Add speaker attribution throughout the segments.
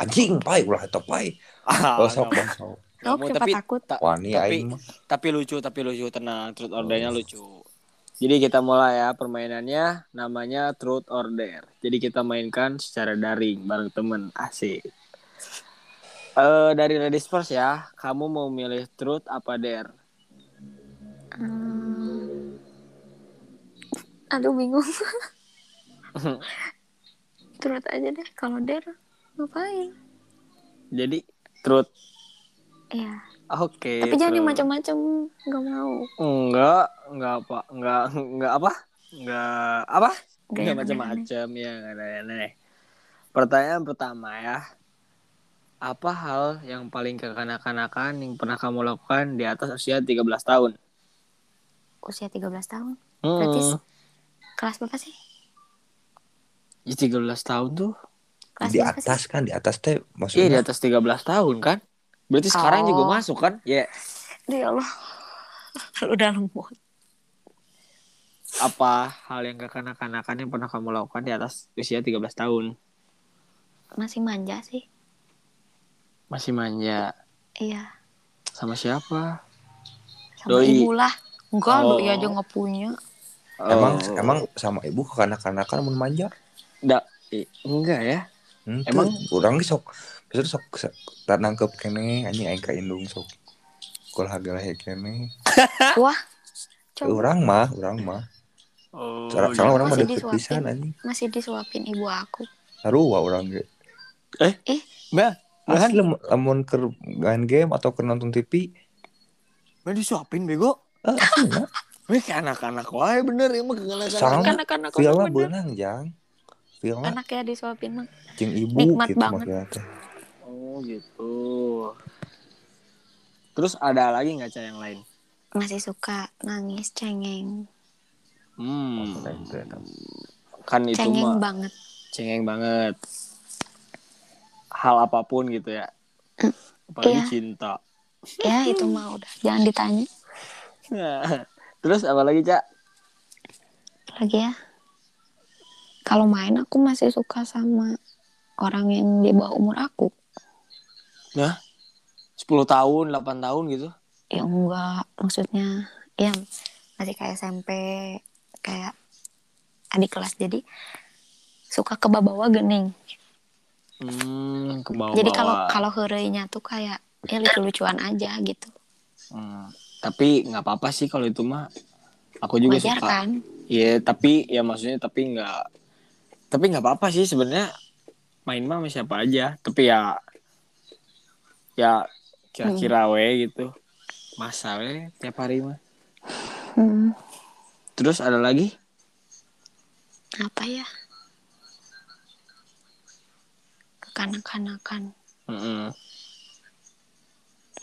Speaker 1: anjing pai ulah eta pai
Speaker 2: Ah,
Speaker 1: oh sok
Speaker 2: nggak
Speaker 1: bang, sok
Speaker 2: mau.
Speaker 3: Oh,
Speaker 2: Nggak mau,
Speaker 3: kenapa
Speaker 2: tapi
Speaker 3: takut?
Speaker 2: ta-
Speaker 1: wani
Speaker 2: Tapi-
Speaker 1: aing mah. Oh.
Speaker 2: tapi lucu tapi lucu tenang truth ordernya lucu jadi kita mulai ya permainannya namanya truth order jadi kita mainkan secara daring bareng temen asik Eh dari ladies first ya kamu mau milih truth apa dare
Speaker 3: Hmm. Aduh bingung. Turut aja deh kalau der ngapain?
Speaker 2: jadi truth
Speaker 3: Iya.
Speaker 2: oke
Speaker 3: Tapi jangan yang
Speaker 2: truth.
Speaker 3: macam-macam, nggak mau.
Speaker 2: enggak enggak apa enggak enggak apa enggak apa
Speaker 3: Nggak
Speaker 2: Enggak
Speaker 3: yang aneh-aneh.
Speaker 2: macam-macam ya, enggak ada yang aneh. Pertanyaan pertama ya. Apa hal yang paling kekanak-kanakan yang pernah kamu lakukan di atas usia 13 tahun?
Speaker 3: Usia 13 tahun. Berarti
Speaker 2: Hmm,
Speaker 3: kelas berapa sih?
Speaker 2: ya 13 tahun tuh.
Speaker 3: Kelas
Speaker 1: di
Speaker 3: berapa sih?
Speaker 1: atas kan di atas teh
Speaker 2: Iya, di
Speaker 1: maksudnya
Speaker 2: atas 13 tahun kan? Berarti sekarang
Speaker 3: Oh.
Speaker 2: juga masuk kan? Ya,
Speaker 3: Aduh, ya Allah. Udah lemot.
Speaker 2: apa hal yang kekanak-kanakan yang pernah kamu lakukan di atas usia 13 tahun?
Speaker 3: Masih manja sih.
Speaker 2: Masih manja
Speaker 3: Iya.
Speaker 2: sama siapa?
Speaker 3: Sama
Speaker 2: Doi.
Speaker 3: ibu lah. Enggak,
Speaker 2: Oh.
Speaker 3: doi aja nggak punya.
Speaker 1: emang
Speaker 2: Oh,
Speaker 1: emang sama ibu kekanak-kanakan mun manja
Speaker 2: da- i- enggak ya?
Speaker 1: Henteu,
Speaker 2: Emang?
Speaker 1: urang ge sok besok sok sok- tak nangkep kene anjing aing ka indung sok olahraga lah kene
Speaker 3: Wah. Coba
Speaker 1: urang mah urang mah
Speaker 2: Oh,
Speaker 1: Soalnya soalnya orang
Speaker 3: Masih
Speaker 1: mah deket
Speaker 3: disuapin.
Speaker 1: pisan anjing
Speaker 3: masih disuapin ibu aku.
Speaker 1: sarua urang ge
Speaker 2: Eh?
Speaker 3: Eh?
Speaker 2: Mbak,
Speaker 1: asli lamun- lamun keur main game atau keur nonton TV
Speaker 2: Mbak disuapin bego.
Speaker 1: eh asli mah
Speaker 2: Wih, kayak anak-anak wae bener ya mah
Speaker 1: Sama.
Speaker 2: anak-anak.
Speaker 3: Kanak-kanak
Speaker 1: Villa
Speaker 3: bener.
Speaker 1: beunang jang Villa
Speaker 3: Anak ya disuapin mah.
Speaker 1: jeung ibu
Speaker 3: Nikmat
Speaker 1: gitu
Speaker 3: banget.
Speaker 1: maksudnya teh
Speaker 2: Oh gitu. Terus ada lagi nggak cah yang lain?
Speaker 3: Masih suka nangis cengeng.
Speaker 2: Hmm.
Speaker 1: Maksudnya itu, eta.
Speaker 2: Kan itu
Speaker 3: Cengeng
Speaker 2: mah
Speaker 3: banget.
Speaker 2: cengeng banget. Hal apapun gitu ya. Apalagi
Speaker 3: Iya.
Speaker 2: cinta.
Speaker 3: Ya itu mah udah. Jangan ditanya
Speaker 2: Terus apa lagi, Cak?
Speaker 3: lagi ya. Kalau main aku masih suka sama orang yang di bawah umur aku.
Speaker 2: 10 tahun, 8 tahun gitu.
Speaker 3: Ya enggak. Maksudnya ya masih kayak SMP. Kayak adik kelas. Jadi suka ke bawah gening.
Speaker 2: Hmm, ke bawah.
Speaker 3: Jadi kalau kalau hurainya tuh kayak ya lucu-lucuan aja gitu.
Speaker 2: Hmm. tapi nggak apa-apa sih kalau itu mah. Aku juga
Speaker 3: Wajar
Speaker 2: suka.
Speaker 3: kan?
Speaker 2: Iya, tapi ya maksudnya tapi nggak tapi nggak apa-apa sih sebenarnya main mah sama siapa aja, tapi ya ya kira-kira we gitu. Masa we tiap hari mah.
Speaker 3: Hmm,
Speaker 2: Terus ada lagi?
Speaker 3: apa ya? Kekanak-kanakan.
Speaker 2: Mm-mm.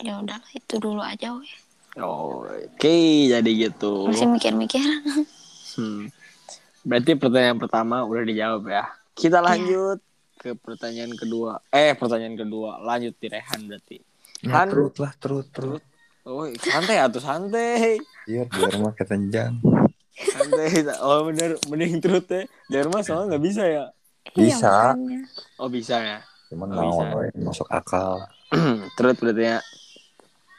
Speaker 3: Ya udahlah itu dulu aja weh.
Speaker 2: Oh, Oke, jadi gitu.
Speaker 3: Masih mikir-mikir.
Speaker 2: Hmm. Berarti pertanyaan pertama udah dijawab ya. Kita lanjut ke pertanyaan kedua. Eh, pertanyaan kedua lanjut di Rehan berarti.
Speaker 1: Nah,
Speaker 2: Kan-
Speaker 1: terus lah terus terus
Speaker 2: Oh, santai atuh santai.
Speaker 1: iya biar mah ketenjang
Speaker 2: Santai. Oh bener, mending truth ya. Derma soalnya nggak bisa ya.
Speaker 1: Bisa.
Speaker 3: Iya, makanya.
Speaker 2: Oh bisa ya.
Speaker 1: cuman
Speaker 2: Oh,
Speaker 1: naon
Speaker 2: bisa.
Speaker 1: we, masuk akal
Speaker 2: truth berarti ya.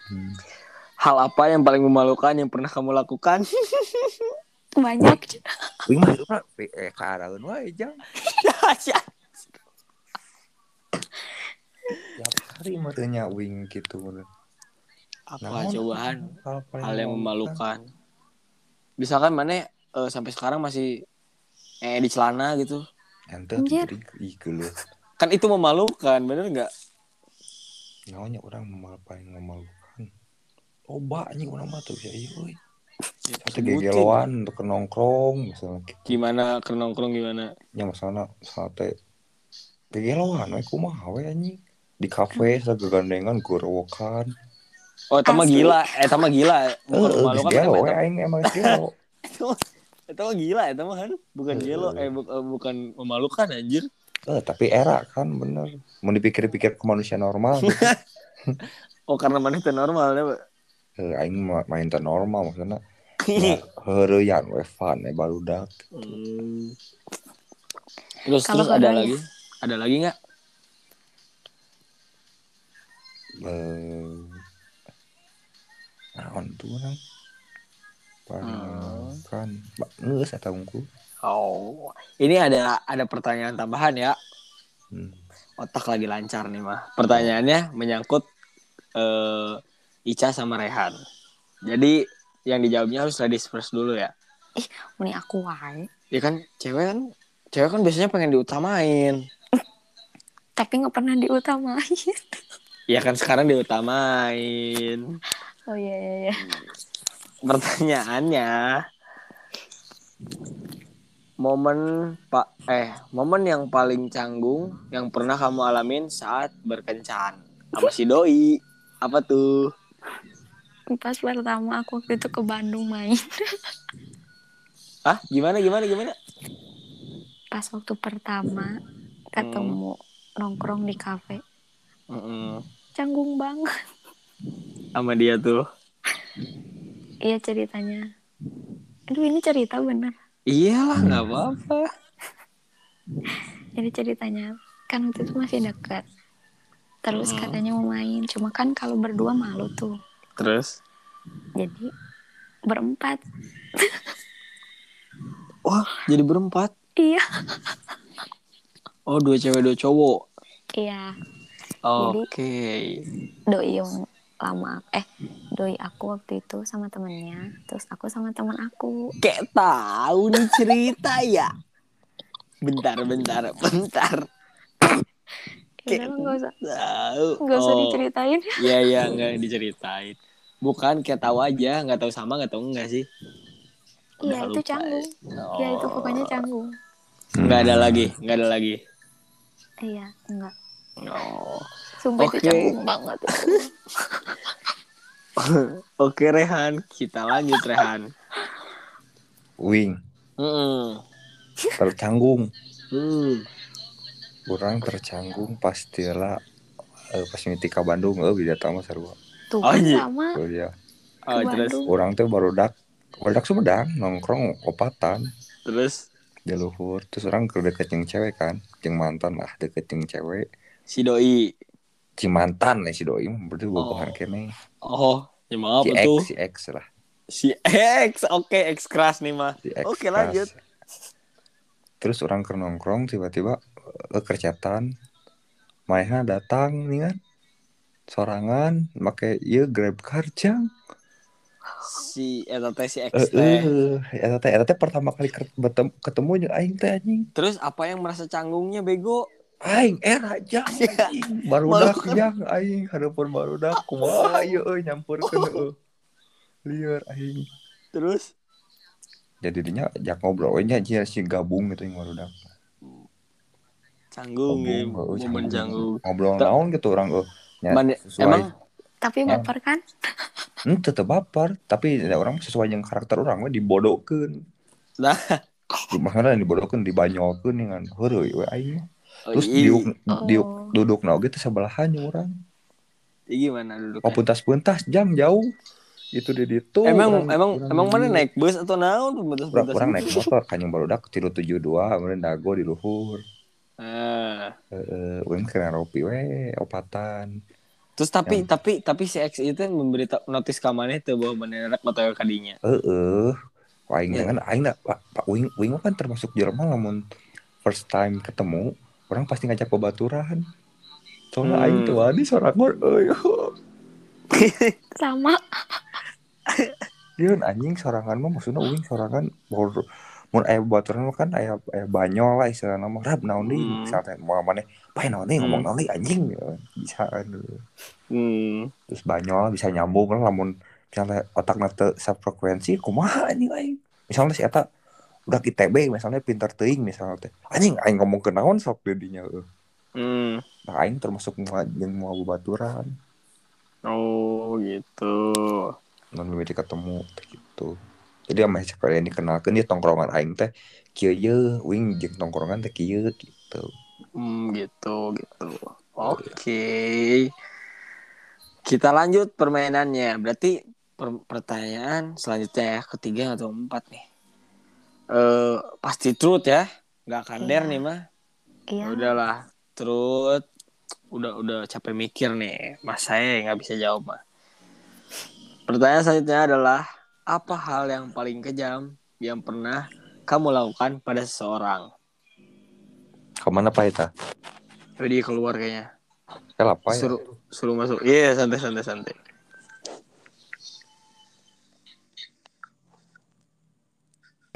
Speaker 1: Hmm.
Speaker 2: Hal apa yang paling memalukan yang pernah kamu lakukan?
Speaker 3: Banyak.
Speaker 1: Wih mah itu mah eh, ke araheun wae jang tiap hari mah teu nya wing gitu
Speaker 2: apa
Speaker 1: Naon?
Speaker 2: cobaan?
Speaker 1: hal, paling
Speaker 2: Hal yang memalukan. Misalkan mana eh, sampai sekarang masih eh di celana gitu.
Speaker 1: ente
Speaker 3: Anjir.
Speaker 1: jadi ih geuleuh.
Speaker 2: Kan itu memalukan, bener nggak?
Speaker 1: naon nya urang memal- paling memalukan loba anjing urang mah terus ya ieu euy satu gegeloan untuk ke nongkrong misalnya
Speaker 2: Gimana ke nongkrong gimana?
Speaker 1: nya masalahna sate gegeloan we kumaha we anjing di kafe saya gegandengan gorowokan
Speaker 2: Oh, itu mah
Speaker 3: Asli.
Speaker 2: gila. Eh, itu mah gila. Bukan memalukan.
Speaker 1: gelo
Speaker 2: tapi
Speaker 1: we aing emang gelo
Speaker 2: Itu mah gila, itu mah kan bukan
Speaker 1: Eh.
Speaker 2: gelo, eh bu- eh, bukan memalukan anjir.
Speaker 1: Eh, tapi era kan bener mau dipikir-pikir ke manusia normal gitu.
Speaker 2: Oh karena mana itu normal ya, Pak.
Speaker 1: Eh, aing ma- main teh normal maksudnya
Speaker 2: Ini.
Speaker 1: Ya. heureyan we fun eh barudak
Speaker 2: Hmm. Terus
Speaker 3: Kalau
Speaker 2: terus ada
Speaker 3: keduanya.
Speaker 2: lagi? Ada lagi nggak?
Speaker 1: eh naon tuh nang pangakan Ba- geus eta unggul
Speaker 2: Oh, ini ada ada pertanyaan tambahan ya.
Speaker 1: hmm.
Speaker 2: Otak lagi lancar nih mah. Pertanyaannya menyangkut eh, Ica sama Rehan. Jadi yang dijawabnya harus ladies first dulu ya.
Speaker 3: Muni aku wae.
Speaker 2: Ya kan cewek kan cewek kan biasanya pengen diutamain.
Speaker 3: Tapi nggak pernah diutamain.
Speaker 2: Ya kan sekarang diutamain.
Speaker 3: Oh iya iya iya.
Speaker 2: Pertanyaannya momen pak eh momen yang paling canggung yang pernah kamu alamin saat berkencan sama si doi apa tuh
Speaker 3: Pas pertama aku waktu itu ke Bandung main.
Speaker 2: ah gimana gimana gimana
Speaker 3: Pas waktu pertama ketemu nongkrong di kafe.
Speaker 2: Mm-mm.
Speaker 3: Canggung banget.
Speaker 2: sama dia tuh
Speaker 3: Iya ceritanya. Aduh ini cerita bener.
Speaker 2: iyalah nggak apa-apa
Speaker 3: Jadi ceritanya kan waktu itu masih dekat. Terus
Speaker 2: Hmm.
Speaker 3: katanya mau main. Cuma kan kalau berdua malu tuh.
Speaker 2: terus
Speaker 3: Jadi berempat.
Speaker 2: wah jadi berempat
Speaker 3: Iya.
Speaker 2: oh dua cewek dua cowok
Speaker 3: Iya.
Speaker 2: oke
Speaker 3: doi yang lama eh doi aku waktu itu sama temennya terus aku sama teman aku
Speaker 2: kayak tahu nih cerita ya bentar bentar bentar
Speaker 3: ya udah lah, nggak usah
Speaker 2: tahu
Speaker 3: nggak usah
Speaker 2: Oh.
Speaker 3: diceritain
Speaker 2: Iya iya nggak diceritain. Bukan kayak tahu aja, nggak tahu sama nggak tahu enggak sih.
Speaker 3: iya
Speaker 2: Udah lupa.
Speaker 3: itu
Speaker 2: ya. Oh.
Speaker 3: canggung iya itu pokoknya canggung
Speaker 2: Nggak ada lagi, nggak ada lagi.
Speaker 3: iya enggak
Speaker 2: Oh.
Speaker 3: sumpah itu
Speaker 2: Oke.
Speaker 3: canggung banget
Speaker 2: Oke Rehan, kita lanjut Rehan.
Speaker 1: wing
Speaker 2: Mm-mm.
Speaker 1: tercanggung
Speaker 2: Hmm.
Speaker 1: kurang tercanggung pastilah eh, pas mimpi ke Bandung eh beda tamu serba
Speaker 3: tuh
Speaker 2: Oh, iya.
Speaker 3: sama
Speaker 1: Tuh dia
Speaker 2: Oh,
Speaker 3: ke
Speaker 2: terus
Speaker 3: Bandung
Speaker 1: orang tuh baru dak baru dak Sumedang nongkrong opatan
Speaker 2: terus
Speaker 1: di luhur terus orang ke deket jeung cewek kan jeung mantan lah deket jeung cewek
Speaker 2: si doi.
Speaker 1: Cimantan ya si doi mah, berarti
Speaker 2: Oh.
Speaker 1: bobohan kene
Speaker 2: Oh, ya maaf
Speaker 1: si
Speaker 2: apa tuh?
Speaker 1: X si X lah
Speaker 2: Si X. Oke, X keras nih mah.
Speaker 1: si X
Speaker 2: Oke,
Speaker 1: keras.
Speaker 2: lanjut.
Speaker 1: terus orang ke nongkrong tiba-tiba eh, kercetan Maeha datang nih kan sorangan make ieu grab karjang
Speaker 2: Si eta teh si X
Speaker 1: Eh,
Speaker 2: teh.
Speaker 1: eh, eta teh eta teh pertama kali ker- betem- ketemu jeung aing teh anjing.
Speaker 2: Terus apa yang merasa canggungnya bego?
Speaker 1: Aing eh, era jang. Barudak jang aing hadeupeun barudak kumaha eh, ieu euy nyampurkeun euy. Lieur aing.
Speaker 2: Terus
Speaker 1: Jadi dinya jak ngobrol we nya jia si gabung gitu yang barudak.
Speaker 2: canggung, ya,
Speaker 1: heuh,
Speaker 2: momen canggung.
Speaker 1: eh, Ngobrol
Speaker 2: Ta-
Speaker 1: naon gitu orang euy. Ya,
Speaker 2: Man,
Speaker 1: sesuai.
Speaker 2: emang
Speaker 3: tapi
Speaker 1: Ya.
Speaker 3: baper kan
Speaker 1: Hmm, tetep baper, tapi ya, orang sesuai dengan karakter orang we dibodohkeun.
Speaker 2: Lah.
Speaker 1: Makanya dibodohkeun dibanyolkeun dengan heureuy we aing. mah. Terus
Speaker 2: Ih,
Speaker 1: diuk diuk
Speaker 3: Oh.
Speaker 1: duduk na oge teh sebelahan jeung urang.
Speaker 2: ih, gimana dulu?
Speaker 1: Oh puntas-puntas jam jauh. Itu di ditu.
Speaker 2: emang
Speaker 1: urang-
Speaker 2: emang
Speaker 1: urang-
Speaker 2: emang mana naik bus atau naon Bentas-
Speaker 1: Urang,
Speaker 2: bentas
Speaker 1: urang
Speaker 2: gitu.
Speaker 1: naik motor kanyang barudak tilu 72 kemudian dago di luhur.
Speaker 2: Eh,
Speaker 1: Heeh, urang kena ropi we opatan.
Speaker 2: terus tapi
Speaker 1: Yang-
Speaker 2: tapi tapi si X itu memberitahu notis ka mana itu bahwa menerek motor kadinya
Speaker 1: Heeh. Eh, Aing
Speaker 2: Ya.
Speaker 1: kan aing na- Pak Pak Wing Wing mah kan termasuk Jerman lamun first time ketemu orang pasti ngajak babaturan. Soalnya
Speaker 2: Hmm.
Speaker 1: aing teu wani sorangor euy.
Speaker 3: sama
Speaker 1: Yun anjing sorangan mah maksudnya uing sorangan baru mun aya baturan mah kan aya aya banyol lah istilahna mah rap naon deui
Speaker 2: Hmm.
Speaker 1: misalnya mau mana pae naon deui
Speaker 2: Hmm.
Speaker 1: ngomong naon deui anjing bisa aduh.
Speaker 2: hmm.
Speaker 1: terus banyol bisa nyambung lah lamun misalnya otakna teu safrekuensi kumaha anjing aing misalnya si eta udah ITB misalnya pintar teuing misalnya teh anjing aing ngomong ke naon sok dedinya euy.
Speaker 2: hmm.
Speaker 1: nah aing termasuk mua- jeung mau baturan
Speaker 2: oh gitu
Speaker 1: non memilih ketemu teh gitu jadi sama si kalian dikenalkan dia tongkrongan aing teh kieu ye wing jeung tongkrongan teh kieu gitu
Speaker 2: hmm, gitu gitu oke kita lanjut permainannya berarti per- pertanyaan selanjutnya ya ketiga atau empat nih eh pasti truth ya nggak kander
Speaker 3: Iya.
Speaker 2: nih mah
Speaker 3: iya
Speaker 2: Udahlah, truth udah udah capek mikir nih mas saya yang nggak bisa jawab mah pertanyaan selanjutnya adalah apa hal yang paling kejam yang pernah kamu lakukan pada seseorang
Speaker 1: Kemana Pak Eta?
Speaker 2: Jadi dia keluar kayaknya
Speaker 1: Ya apa ya?
Speaker 2: suruh suruh masuk iya santai santai santai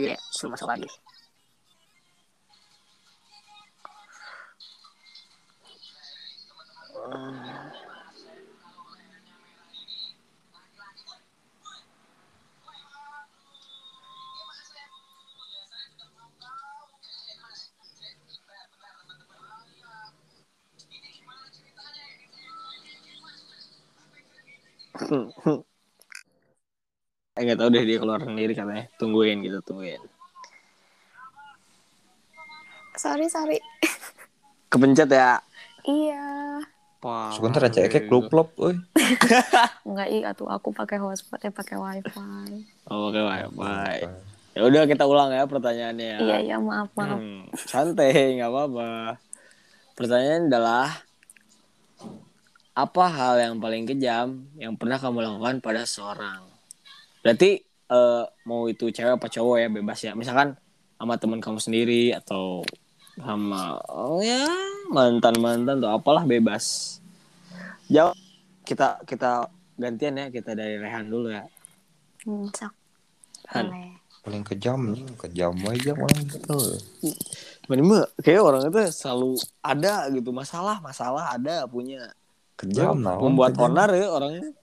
Speaker 2: Iya, suruh masuk lagi. Eh nggak tahu deh dia keluar sendiri katanya. Tungguin gitu, tungguin.
Speaker 3: sorry sorry
Speaker 2: Kepencet ya.
Speaker 3: iya
Speaker 2: Wah.
Speaker 1: Sebentar aja
Speaker 2: Ah,
Speaker 1: kayak klub-klub, euy.
Speaker 3: nggak iya tuh aku pakai hotspot ya pakai wifi
Speaker 2: Oke, baik, baik. Ya udah kita ulang ya pertanyaannya. ya.
Speaker 3: iya iya maaf maaf
Speaker 2: Hmm, santai, nggak apa-apa. Pertanyaan adalah apa hal yang paling kejam yang pernah kamu lakukan pada seorang? Berarti eh, mau itu cewek apa cowok ya bebas ya. Misalkan sama teman kamu sendiri atau sama oh ya mantan mantan atau apalah bebas. Jawab kita kita gantian ya kita dari Rehan dulu ya.
Speaker 3: Hmm, sok
Speaker 2: Han.
Speaker 3: boleh
Speaker 1: Paling kejam nih, kejam aja orang gitu.
Speaker 2: Minimal kayak orang itu selalu ada gitu masalah masalah ada punya
Speaker 1: Kejam naon.
Speaker 2: membuat
Speaker 1: kejam.
Speaker 2: onar ya orangnya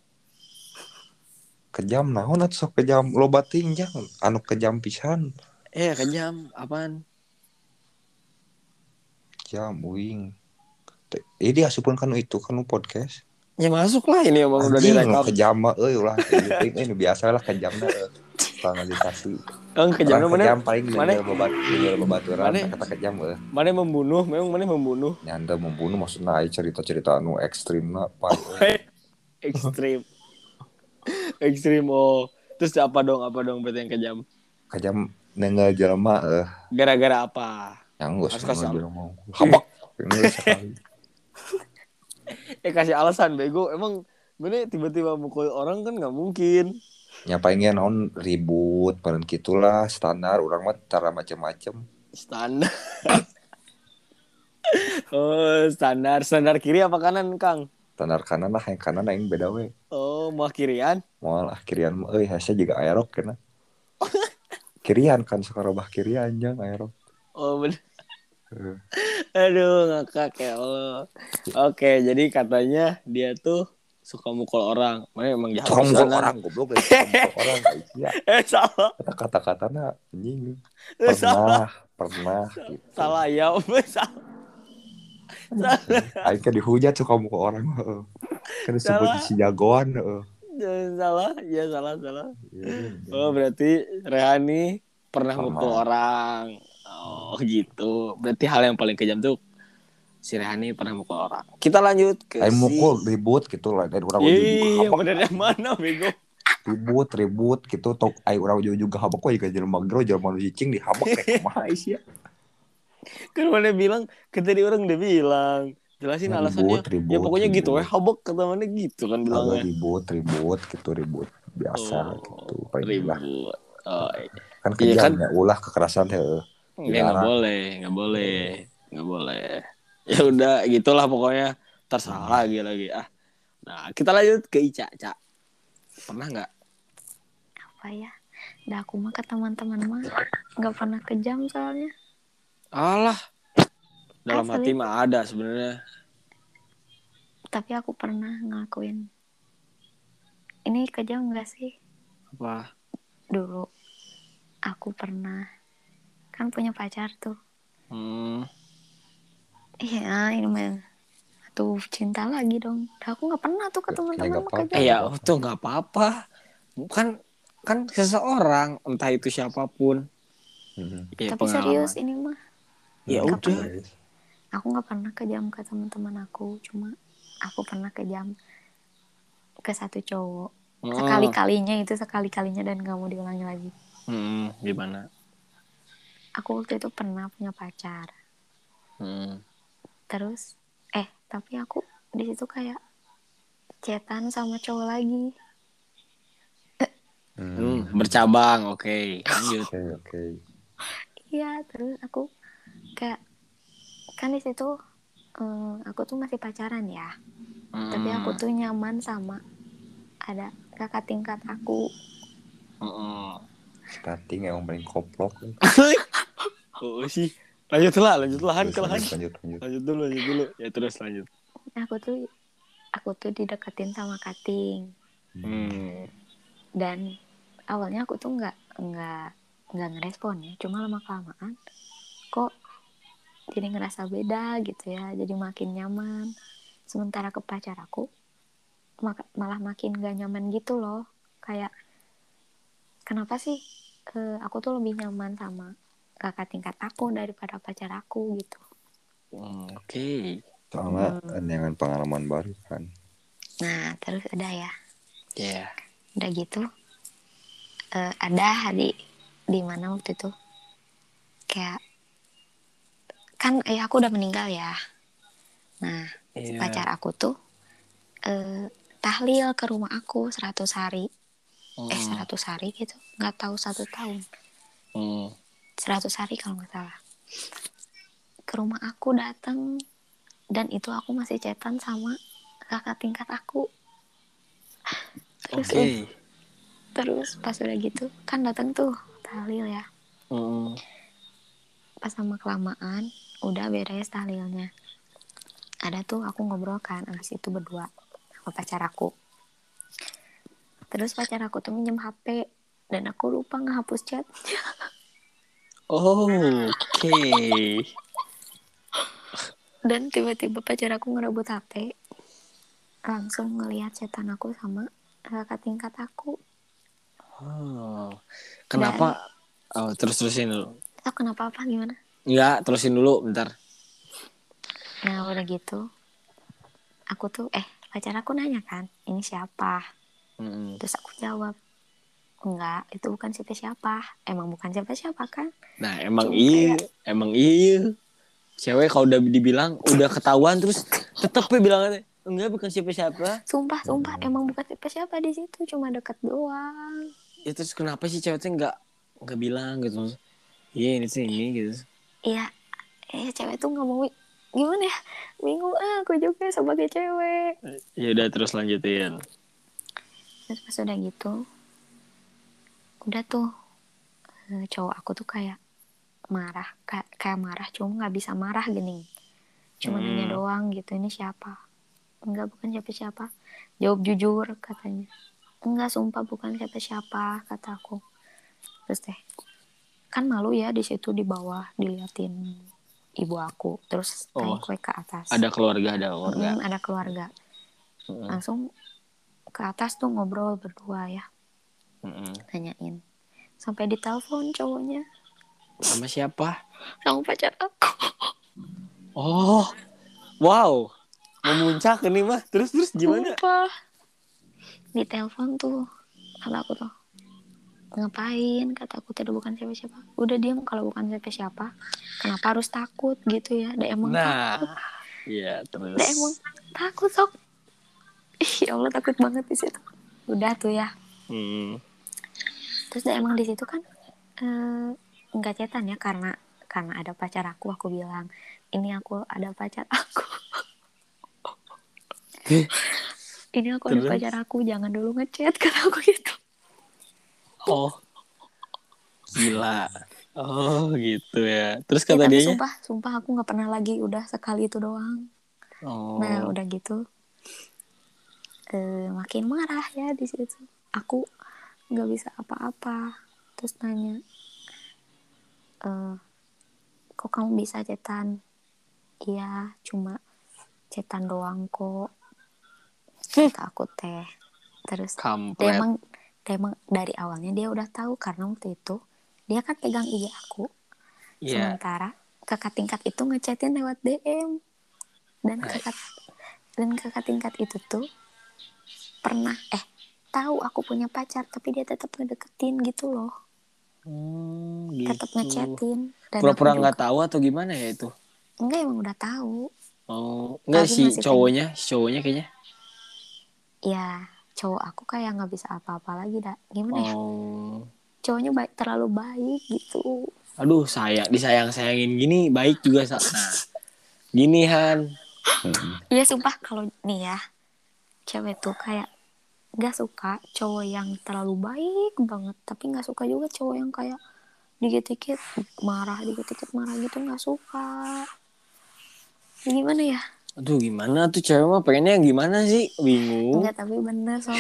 Speaker 1: Kejam naon atuh sok kejam loba ting jangan anu kejam pisan.
Speaker 2: eh kejam apaan
Speaker 1: Kejam uing. Te- Ini asupun eh, kan itu kan nu podcast.
Speaker 2: ya masuk lah ini emang Oh, udah
Speaker 1: Anjing
Speaker 2: direkam
Speaker 1: nu kejam mah euy ulah ini biasa lah kejamna. euy. Tukang edukasi.
Speaker 2: Yang kejam
Speaker 1: Orang
Speaker 2: mana
Speaker 1: kejam paling
Speaker 2: mana-
Speaker 1: menjual bebat menjual bebaturan
Speaker 2: mana-
Speaker 1: kata kejam euy.
Speaker 2: mana membunuh memang mana membunuh
Speaker 1: Nyanda membunuh maksudnya ai cerita-cerita anu ekstrim lah pak.
Speaker 2: ekstrim ekstrim oh terus apa dong apa dong berarti yang kejam
Speaker 1: Kejam nenggal jelema eh. euy.
Speaker 2: gara-gara apa
Speaker 1: Yang gue
Speaker 2: Harus kasih
Speaker 1: seneng
Speaker 2: al-
Speaker 1: aja mau Habak Ini sekali.
Speaker 2: eh kasih alasan bego emang mana tiba-tiba mukul orang kan nggak mungkin
Speaker 1: Nyapainnya naon ribut Meren gitulah standar Orang mah cara macem-macem
Speaker 2: standar oh standar standar kiri apa kanan kang
Speaker 1: Standar kanan lah Yang kanan yang beda we
Speaker 2: oh mau kirian
Speaker 1: Moal ah kirian mah Eh hasa juga aerok kena Kirian kan suka robah kirian Jang aerok
Speaker 2: oh bener
Speaker 1: Eh,
Speaker 2: Aduh ngakak ya Allah. Oke jadi katanya dia tuh suka mukul orang. Mana emang jahat.
Speaker 1: Tukang mukul
Speaker 2: pisanan.
Speaker 1: orang goblok eh. Tukang mukul orang kayak iya.
Speaker 2: Eh salah.
Speaker 1: Kata kata-katanya anjing
Speaker 2: Eh, salah.
Speaker 1: Pernah Pernah gitu.
Speaker 2: Salah ya. Om. salah.
Speaker 1: Aing kan dihujat suka mukul orang heeh. Kan disebut
Speaker 2: Salah.
Speaker 1: si jagoan heeh.
Speaker 2: Jangan salah. Ya salah salah.
Speaker 1: Iya.
Speaker 2: Oh berarti Rehani pernah
Speaker 1: Pernah.
Speaker 2: mukul orang. Oh gitu. Berarti hal yang paling kejam tuh si Rehani pernah mukul orang. Kita lanjut ke
Speaker 1: Aing
Speaker 2: si-
Speaker 1: mukul ribut gitu lah dan orang
Speaker 2: Iya,
Speaker 1: ujung-ujung
Speaker 2: bener yang mana bego?
Speaker 1: ribut ribut gitu tok ai orang ujung juga habak kok juga jelema gero jelema nu cicing dihabak teh kumaha
Speaker 2: Aisyah. Kan mana bilang, kan tadi orang udah bilang. Jelasin alasannya.
Speaker 1: ribut ribut
Speaker 2: ya pokoknya
Speaker 1: ribut.
Speaker 2: gitu ya, habek kata mana gitu kan
Speaker 1: Agak
Speaker 2: bilangnya.
Speaker 1: ribut ribut gitu ribut biasa lah
Speaker 2: Oh,
Speaker 1: gitu paling lah
Speaker 2: Ribut. Oh,
Speaker 1: kan
Speaker 2: Iya kan?
Speaker 1: kejamnya ulah kekerasan heeh
Speaker 2: ya nggak boleh, nggak boleh,
Speaker 1: Iya.
Speaker 2: nggak boleh. Ya udah gitulah pokoknya
Speaker 1: Hmm.
Speaker 2: terserah lagi lagi ah. Nah kita lanjut ke Ica, Ca. Pernah nggak?
Speaker 3: apa ya dah aku mah ke teman-teman mah nggak pernah kejam soalnya
Speaker 2: Alah. Dalam
Speaker 3: Asli.
Speaker 2: hati mah ada sebenarnya.
Speaker 3: tapi aku pernah ngelakuin ini kejam nggak sih
Speaker 2: Apa?
Speaker 3: dulu aku pernah kan punya pacar tuh
Speaker 2: Hmm.
Speaker 3: iya ini mah tuh cinta lagi dong Dah, aku nggak pernah tuh ke
Speaker 1: Ya,
Speaker 3: teman-teman
Speaker 1: nggak
Speaker 3: mah
Speaker 1: apa-apa.
Speaker 3: kejam
Speaker 2: Eh, ya itu nggak apa-apa. Kan kan seseorang entah itu siapapun. Ya,
Speaker 3: tapi
Speaker 2: pengalaman.
Speaker 3: serius ini mah
Speaker 1: Hmm,
Speaker 2: Mm-hmm. Ya
Speaker 3: Nggak
Speaker 2: udah.
Speaker 3: aku nggak pernah kejam ke teman-teman aku cuma aku pernah kejam ke satu cowok
Speaker 2: Hmm.
Speaker 3: sekali kalinya itu sekali kalinya dan nggak mau diulangi lagi
Speaker 2: Hmm, gimana?
Speaker 3: aku waktu itu pernah punya pacar
Speaker 2: Hmm.
Speaker 3: terus eh tapi aku di situ kayak cetan sama cowok lagi
Speaker 2: Hmm, bercabang, oke. Lanjut.
Speaker 1: Oke oke.
Speaker 3: Iya, terus aku kayak kan di situ eh, aku tuh masih pacaran ya, tapi
Speaker 2: Mm-mm.
Speaker 3: aku tuh nyaman sama ada kakak tingkat aku.
Speaker 2: Mm-mm.
Speaker 1: Starting yang paling koplok.
Speaker 2: Kok hmm. Oh, sih? Lanjutlah, lanjutlah Han,
Speaker 1: Terus,
Speaker 2: ke Han.
Speaker 1: lanjut, lanjut lanjut.
Speaker 2: Lanjut dulu, lanjut dulu. Ya terus lanjut.
Speaker 3: Aku tuh aku tuh dideketin sama kating
Speaker 2: Hmm.
Speaker 3: dan awalnya aku tuh nggak nggak nggak ngerespon ya, cuma lama kelamaan kok jadi ngerasa beda gitu ya, jadi makin nyaman. Sementara ke pacar aku maka- malah makin gak nyaman gitu loh, kayak kenapa sih eh, aku tuh lebih nyaman sama kakak tingkat aku daripada pacar aku gitu
Speaker 2: Hmm, Oke.
Speaker 1: Soalnya
Speaker 3: Hmm.
Speaker 1: dengan pengalaman baru kan.
Speaker 3: nah terus ada ya
Speaker 2: Ya.
Speaker 3: udah gitu eh, ada hari di mana waktu itu kayak kan ayah aku udah meninggal ya nah si
Speaker 2: Iya.
Speaker 3: pacar aku tuh eh, tahlil ke rumah aku 100 hari
Speaker 2: Mm,
Speaker 3: eh 100 hari gitu nggak tahu satu tahun
Speaker 2: mm.
Speaker 3: 100 hari kalau nggak salah ke rumah aku datang dan itu aku masih cetan sama kakak tingkat aku
Speaker 2: Oke.
Speaker 3: terus terus pas udah gitu kan datang tuh tahlil ya
Speaker 2: Mm.
Speaker 3: pas sama kelamaan udah beres tahlilnya ada tuh aku ngobrol kan abis itu berdua sama pacar aku terus pacar aku tuh minjem HP dan aku lupa ngehapus chat
Speaker 2: Oke.
Speaker 3: dan tiba-tiba pacar aku ngerebut HP langsung ngelihat setan aku sama kakak tingkat aku
Speaker 2: Oh. Kenapa? Oh, terus terusin dulu.
Speaker 3: oh kenapa apa gimana
Speaker 2: Enggak, terusin dulu bentar.
Speaker 3: nah udah gitu aku tuh eh pacar aku nanya kan ini siapa
Speaker 2: Mm.
Speaker 3: terus aku jawab enggak itu bukan siapa siapa emang bukan siapa siapa kan
Speaker 2: Nah, emang
Speaker 3: Cuma
Speaker 2: iya, emang iya. Cewek kalau udah dibilang udah ketahuan terus tetep ya bilangnya enggak bukan siapa-siapa.
Speaker 3: sumpah sumpah
Speaker 1: Hmm.
Speaker 3: emang bukan siapa siapa di situ cuma deket doang
Speaker 2: Ya terus kenapa sih ceweknya enggak enggak bilang gitu. Iya, ini sih ini gitu.
Speaker 3: iya eh cewek tuh nggak mau gimana ya bingung ah aku juga sebagai cewek
Speaker 2: Ya udah terus lanjutin.
Speaker 3: Terus pas udah gitu Udah tuh eh, Cowok aku tuh kayak Marah, kayak, kayak marah Cuma nggak bisa marah gini Cuma
Speaker 2: Hmm.
Speaker 3: nanya doang gitu, ini siapa Enggak, bukan siapa-siapa Jawab jujur katanya Enggak, sumpah bukan siapa-siapa Kata aku Terus deh Kan malu ya di situ di bawah Diliatin ibu aku Terus
Speaker 2: Oh,
Speaker 3: naik ke atas
Speaker 2: Ada keluarga, ada keluarga.
Speaker 3: Hmm, ada keluarga
Speaker 2: Mm,
Speaker 3: Langsung ke atas tuh ngobrol berdua ya
Speaker 2: mm.
Speaker 3: nanyain sampai ditelepon cowoknya
Speaker 2: Sama siapa?
Speaker 3: sama pacar aku
Speaker 2: Oh. Wow. Memuncak ini mah. Terus terus gimana?
Speaker 3: Sumpah. ditelepon tuh kata aku tuh ngapain kata aku tidak bukan siapa-siapa udah diam kalau bukan siapa-siapa kenapa harus takut gitu ya udah emang
Speaker 2: Nah.
Speaker 3: takut
Speaker 2: Iya,
Speaker 3: udah emang
Speaker 2: terus.
Speaker 3: takut sok Ih, ya allah takut banget di situ udah tuh ya
Speaker 2: Hmm.
Speaker 3: terus udah emang di situ kan eh, nggak cetan ya karena karena ada pacar aku aku bilang ini aku ada pacar aku
Speaker 2: Eh.
Speaker 3: ini aku
Speaker 2: Terus?
Speaker 3: ada pacar aku jangan dulu ngechat kata aku gitu
Speaker 2: Oh. Gila. Oh gitu ya. Terus
Speaker 3: Ya,
Speaker 2: kata
Speaker 3: tapi
Speaker 2: dianya?
Speaker 3: sumpah sumpah aku nggak pernah lagi udah sekali itu doang
Speaker 2: Oh.
Speaker 3: nah udah gitu eh, makin marah ya di situ aku nggak bisa apa-apa terus nanya eh kok kamu bisa cetan iya cuma cetan doang kok kata aku teh terus dia
Speaker 2: Kampret.
Speaker 3: emang dia emang dari awalnya dia udah tahu karena waktu itu dia kan pegang IG aku
Speaker 2: Iya.
Speaker 3: sementara kakak tingkat itu ngechatin lewat DM dan
Speaker 2: Hai.
Speaker 3: kakak dan kakak tingkat itu tuh pernah eh tahu aku punya pacar tapi dia tetap ngedeketin gitu loh
Speaker 2: Hmm,
Speaker 3: tetap
Speaker 2: gitu.
Speaker 3: ngechatin dan
Speaker 2: Pura-pura
Speaker 3: aku
Speaker 2: nggak
Speaker 3: juga-
Speaker 2: tahu atau gimana ya itu?
Speaker 3: enggak emang udah tahu
Speaker 2: Oh, enggak
Speaker 3: Tapi
Speaker 2: si
Speaker 3: masih
Speaker 2: cowoknya, si cowoknya kayaknya.
Speaker 3: ya cowok aku kayak nggak bisa apa-apa lagi dah gimana ya
Speaker 2: Oh.
Speaker 3: cowoknya baik terlalu baik gitu
Speaker 2: Aduh, sayang disayang-sayangin gini baik juga sa. Nah. Gini Han.
Speaker 3: Iya sumpah kalau nih ya cewek tuh kayak nggak suka cowok yang terlalu baik banget tapi nggak suka juga cowok yang kayak dikit-dikit marah dikit-dikit marah gitu nggak suka Ya gimana ya
Speaker 2: Aduh, gimana tuh cewek mah pengennya yang gimana sih? Bingung.
Speaker 3: nggak tapi bener sob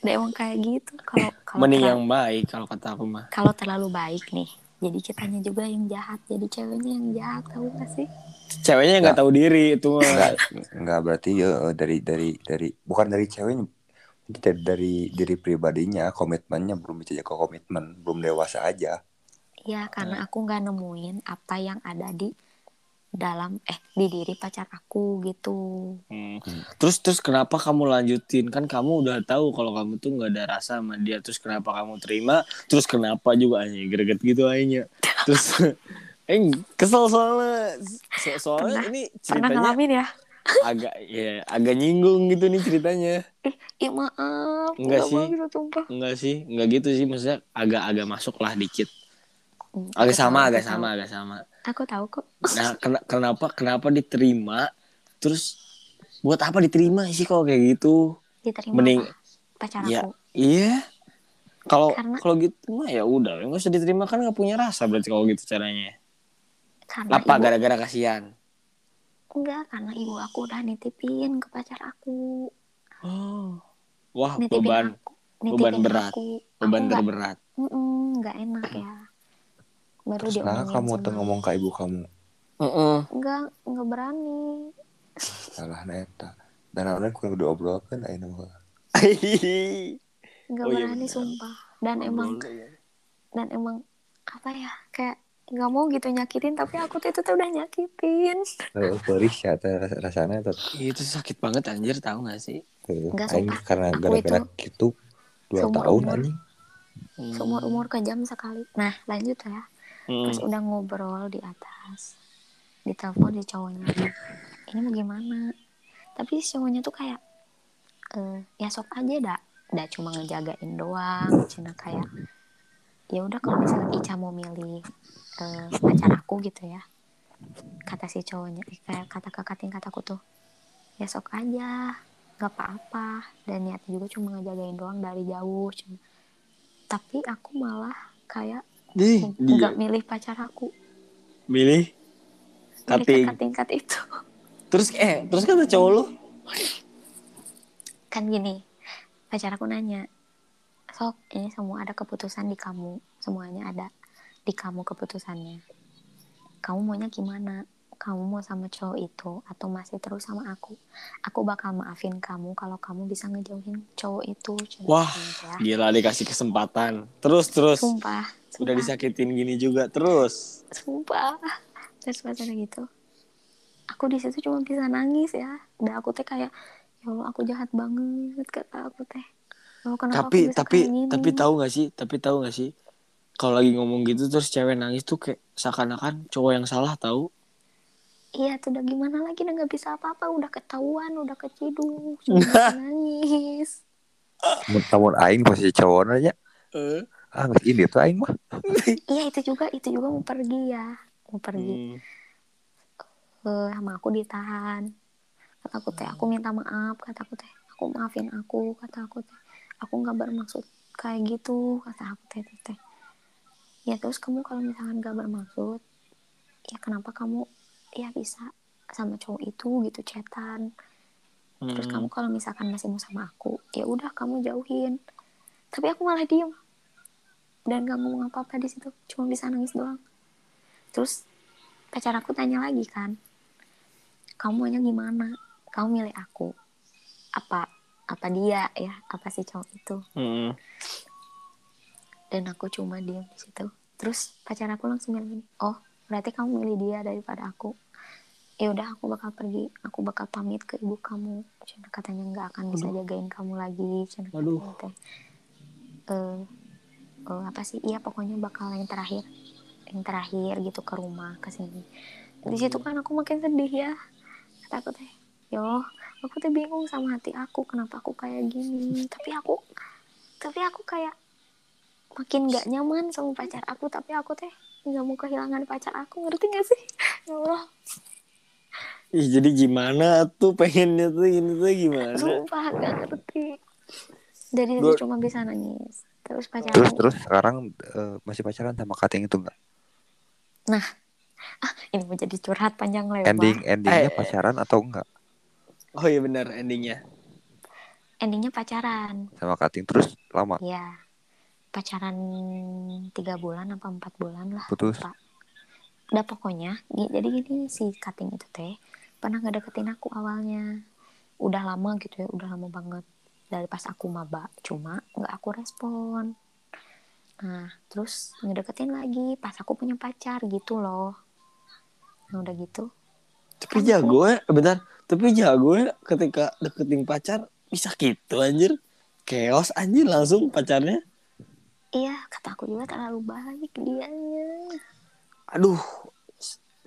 Speaker 3: Udah emang kayak gitu kalau kalau
Speaker 2: Mending
Speaker 3: terlalu-
Speaker 2: yang baik kalau kata aku mah.
Speaker 3: kalau terlalu baik nih jadi kitanya juga yang jahat jadi ceweknya yang jahat tahu gak sih
Speaker 2: Ceweknya yang nggak tahu diri itu
Speaker 3: Oh, iya.
Speaker 2: mah.
Speaker 1: Enggak, enggak berarti ya eh, dari dari dari bukan dari ceweknya dari, dari diri pribadinya komitmennya belum bisa jaga komitmen belum dewasa aja
Speaker 3: Ya
Speaker 2: Nah.
Speaker 3: karena aku nggak nemuin apa yang ada di dalam eh di diri pacar aku gitu.
Speaker 2: Hmm. Terus terus kenapa kamu lanjutin? Kan kamu udah tahu kalau kamu tuh nggak ada rasa sama dia. Terus kenapa kamu terima? Terus kenapa juga aja greget gitu aja. Terus eh kesel soalnya So- soalnya
Speaker 3: Pernah-
Speaker 2: ini
Speaker 3: Pernah
Speaker 2: ceritanya
Speaker 3: ngalamin ya?
Speaker 2: agak ya agak nyinggung gitu nih ceritanya.
Speaker 3: Ih Ya, maaf,
Speaker 2: Enggak
Speaker 3: nggak
Speaker 2: sih.
Speaker 3: mau gitu sumpah.
Speaker 2: Enggak sih, enggak gitu sih maksudnya agak-agak masuk lah dikit.
Speaker 3: Hmm,
Speaker 2: Agak
Speaker 3: aku
Speaker 2: sama,
Speaker 3: tahu,
Speaker 2: agak
Speaker 3: aku tahu.
Speaker 2: sama, agak sama.
Speaker 3: Aku tahu kok.
Speaker 2: Nah, ken- kenapa kenapa diterima? Terus buat apa diterima sih kalau kayak gitu?
Speaker 3: Diterima
Speaker 2: Mending
Speaker 3: apa? pacar
Speaker 2: Ya.
Speaker 3: aku.
Speaker 2: Iya. Kalau
Speaker 3: Karena-
Speaker 2: kalau gitu mah ya udah, enggak usah diterima kan enggak punya rasa berarti kalau gitu caranya.
Speaker 3: Karena
Speaker 2: Apa
Speaker 3: Nah, ibu,
Speaker 2: gara-gara kasihan?
Speaker 3: enggak karena ibu aku udah nitipin ke pacar aku.
Speaker 2: Oh. Wah,
Speaker 3: Nitipin
Speaker 2: beban
Speaker 3: aku. Nitipin
Speaker 2: berat.
Speaker 3: Aku.
Speaker 2: beban
Speaker 3: aku
Speaker 2: terberat.
Speaker 3: Enggak enak ya. Baru
Speaker 1: terus nah
Speaker 3: diomongin
Speaker 1: kamu tuh
Speaker 3: sama-
Speaker 1: ngomong ke ibu kamu
Speaker 2: Heeh.
Speaker 3: Enggak, enggak berani.
Speaker 1: salah neta dan awalnya kurang diobrolkan ayo nama
Speaker 3: Enggak
Speaker 2: Oh, iya
Speaker 3: berani
Speaker 2: benar.
Speaker 3: sumpah. Dan emang
Speaker 2: iya.
Speaker 3: dan emang apa ya kayak nggak mau gitu nyakitin tapi aku tuh itu tuh udah nyakitin
Speaker 2: Hmm.
Speaker 1: perih ya teh, ras- rasanya tuh
Speaker 2: itu sakit banget anjir tahu gak sih?
Speaker 3: Enggak,
Speaker 1: aing
Speaker 3: sumpah.
Speaker 1: karena
Speaker 3: Aku
Speaker 1: gara-gara gitu dua
Speaker 3: seumur
Speaker 1: tahun
Speaker 3: umur.
Speaker 1: anjing
Speaker 2: Hmm.
Speaker 3: seumur umur kejam sekali nah lanjut ya
Speaker 2: Hmm.
Speaker 3: pas udah ngobrol di atas ditelepon si cowoknya ini mau gimana tapi si cowoknya tuh kayak eh ya sok aja dak dak cuma ngejagain doang cina kayak ya udah kalau misalnya Ica mau milih eh, pacar aku gitu ya kata si cowoknya eh, kayak kata kakak tingkat aku tuh ya sok aja nggak apa-apa dan niatnya juga cuma ngejagain doang dari jauh cuma. tapi aku malah kayak
Speaker 2: Ih, dia
Speaker 3: nggak milih pacar aku
Speaker 2: milih
Speaker 3: milih
Speaker 2: Kating.
Speaker 3: kakak tingkat itu
Speaker 2: Terus eh terus kata cowok lu
Speaker 3: kan gini pacar aku nanya sok ini semua ada keputusan di kamu semuanya ada di kamu keputusannya kamu maunya gimana kamu mau sama cowok itu atau masih terus sama aku aku bakal maafin kamu kalau kamu bisa ngejauhin cowok itu Cuma
Speaker 2: Wah.
Speaker 3: gitu ya.
Speaker 2: gila dikasih kesempatan. Terus terus
Speaker 3: sumpah
Speaker 2: udah
Speaker 3: sumpah,
Speaker 2: disakitin gini juga terus.
Speaker 3: sumpah terus pacarnya gitu aku di situ cuma bisa nangis ya dan aku teh kayak ya Allah aku jahat banget kata aku teh Ya Allah, kenapa
Speaker 2: tapi
Speaker 3: aku bisa
Speaker 2: tapi
Speaker 3: kayak gini?"
Speaker 2: tapi tahu nggak sih? Tapi tahu nggak sih? Kalau lagi ngomong gitu terus cewek nangis tuh kayak seakan-akan cowok yang salah tahu.
Speaker 3: Iya tuh udah gimana lagi udah nggak bisa apa-apa udah ketahuan udah keciduk cuma bisa nangis
Speaker 1: namun aing pas si cowoknya nya,
Speaker 2: Eh.
Speaker 1: ah nggak ini tuh aing mah
Speaker 3: iya itu juga itu juga mau pergi ya mau pergi
Speaker 2: Hmm.
Speaker 3: Eh, sama aku ditahan kata aku teh aku minta maaf kata aku teh aku maafin aku kata aku teh aku nggak bermaksud kayak gitu kata aku teh teh, teh ya terus kamu kalau misalkan nggak bermaksud ya kenapa kamu ya bisa sama cowok itu gitu cetan terus
Speaker 2: Hmm.
Speaker 3: kamu kalau misalkan masih mau sama aku ya udah kamu jauhin tapi aku malah diem dan gak ngomong apa-apa di situ cuma bisa nangis doang terus pacar aku tanya lagi kan kamu maunya gimana kamu milih aku apa apa dia ya apa si cowok itu
Speaker 2: Hmm.
Speaker 3: dan aku cuma diam di situ terus pacar aku langsung bilang gini oh berarti kamu milih dia daripada aku ya udah aku bakal pergi aku bakal pamit ke ibu kamu Cina katanya nggak akan bisa jagain kamu lagi Cina
Speaker 2: Aduh.
Speaker 3: katanya teh eh eh, apa sih iya pokoknya bakal yang terakhir
Speaker 1: Hmm.
Speaker 3: yang terakhir gitu ke rumah ke sini di situ kan aku makin sedih ya kata aku teh yo aku tuh bingung sama hati aku kenapa aku kayak gini tapi aku tapi aku kayak makin gak nyaman sama pacar aku tapi aku teh nggak mau kehilangan pacar aku ngerti gak sih ya Allah
Speaker 2: Ih, jadi gimana tuh pengennya tuh ini tuh gimana?
Speaker 3: sumpah gak ngerti dari
Speaker 2: Gua-
Speaker 3: situ cuma bisa nangis terus pacaran
Speaker 1: Terus terus sekarang eh, masih pacaran sama Kak yang itu enggak?
Speaker 3: ini menjadi curhat panjang lebar
Speaker 1: Ending endingnya
Speaker 2: Eh.
Speaker 1: pacaran atau enggak
Speaker 2: Oh iya benar endingnya.
Speaker 3: endingnya pacaran
Speaker 1: sama Kating terus lama
Speaker 3: ya pacaran tiga bulan apa empat bulan lah
Speaker 1: putus.
Speaker 3: Lupa. udah pokoknya gi- jadi gini si kating itu teh pernah ngedeketin aku awalnya udah lama gitu ya udah lama banget dari pas aku maba cuma nggak aku respon nah terus ngedeketin lagi pas aku punya pacar gitu loh nah udah gitu
Speaker 2: Tapi jago ya, bentar. Tapi jago ya ketika deketin pacar bisa gitu anjir. Chaos anjir langsung pacarnya.
Speaker 3: iya kata aku juga terlalu baik dianya
Speaker 2: Aduh.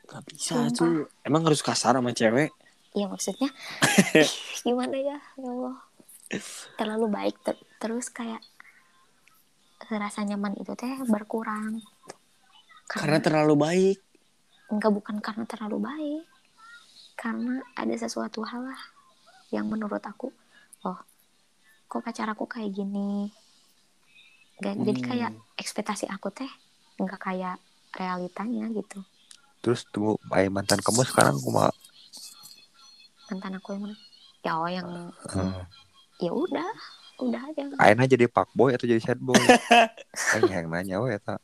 Speaker 2: Gak bisa
Speaker 3: Sumpah.
Speaker 2: tuh. Emang harus kasar sama cewek?
Speaker 3: Iya maksudnya gimana ya ya Allah terlalu baik ter- terus kayak rasa nyaman itu teh berkurang
Speaker 2: Karena
Speaker 3: karena,
Speaker 2: terlalu baik.
Speaker 3: enggak bukan karena terlalu baik karena ada sesuatu hal lah yang menurut aku oh kok pacar aku kayak gini Gak, jadi
Speaker 2: Hmm.
Speaker 3: kayak ekspektasi aku teh nggak kayak realitanya gitu
Speaker 1: Terus tunggu eh, mantan kamu sekarang kuma
Speaker 3: mantan aku yang mana ya oh yang
Speaker 1: eh,
Speaker 3: ya udah udah aja
Speaker 1: Aina jadi fuckboy atau jadi sadboy? Eh yang nanya we eta.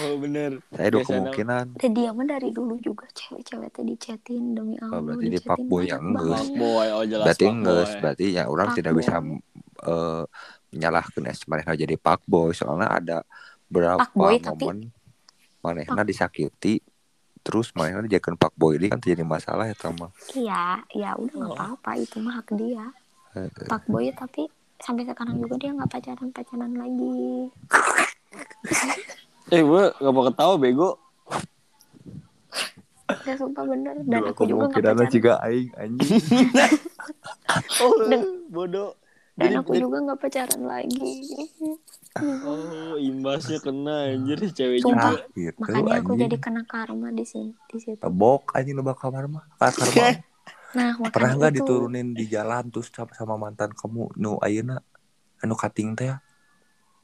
Speaker 2: Oh bener.
Speaker 1: Saya dua
Speaker 2: Biasa
Speaker 1: kemungkinan.
Speaker 3: Dan dia mah dari dulu juga cewek-cewek tadi dicetin demi Allah.
Speaker 1: Oh, berarti dia
Speaker 3: dicetin
Speaker 1: fuckboy
Speaker 3: banyak
Speaker 1: yang
Speaker 3: banget.
Speaker 1: geus.
Speaker 2: Fuckboy, oh jelas
Speaker 1: Berarti
Speaker 2: fuckboy.
Speaker 1: enggak, berarti ya orang tidak
Speaker 3: Fuckboy.
Speaker 1: bisa eh, menyalahkan es mereka jadi fuckboy soalnya ada berapa
Speaker 3: Fuckboy, tapi-
Speaker 1: momen manehna disakiti terus manehna dijadikan fuckboy ini kan jadi masalah ya sama
Speaker 3: Iya, ya udah nggak
Speaker 2: Oh.
Speaker 3: apa-apa itu mah hak dia. Fuckboy tapi sampai sekarang juga dia nggak pacaran-pacaran lagi.
Speaker 2: Eh gue gak mau ketawa bego.
Speaker 3: Ya sumpah bener dan aku juga nggak pacaran.
Speaker 1: aing anjing
Speaker 2: Oh
Speaker 3: Dan-
Speaker 2: bodoh.
Speaker 3: Dan
Speaker 2: Jadi-
Speaker 3: aku juga nggak pacaran lagi.
Speaker 2: Oh imbasnya kena anjir si cewek
Speaker 3: Sumpah.
Speaker 2: juga.
Speaker 1: ah gitu
Speaker 3: Makanya aku
Speaker 1: anjing
Speaker 3: jadi kena karma di sini di situ.
Speaker 1: tebok anjing lu bakal mah Ah, karma.
Speaker 3: Nah, makanya
Speaker 1: pernah nggak
Speaker 3: itu
Speaker 1: diturunin di jalan terus sama, sama mantan kamu nu ayeuna anu kating teh ya?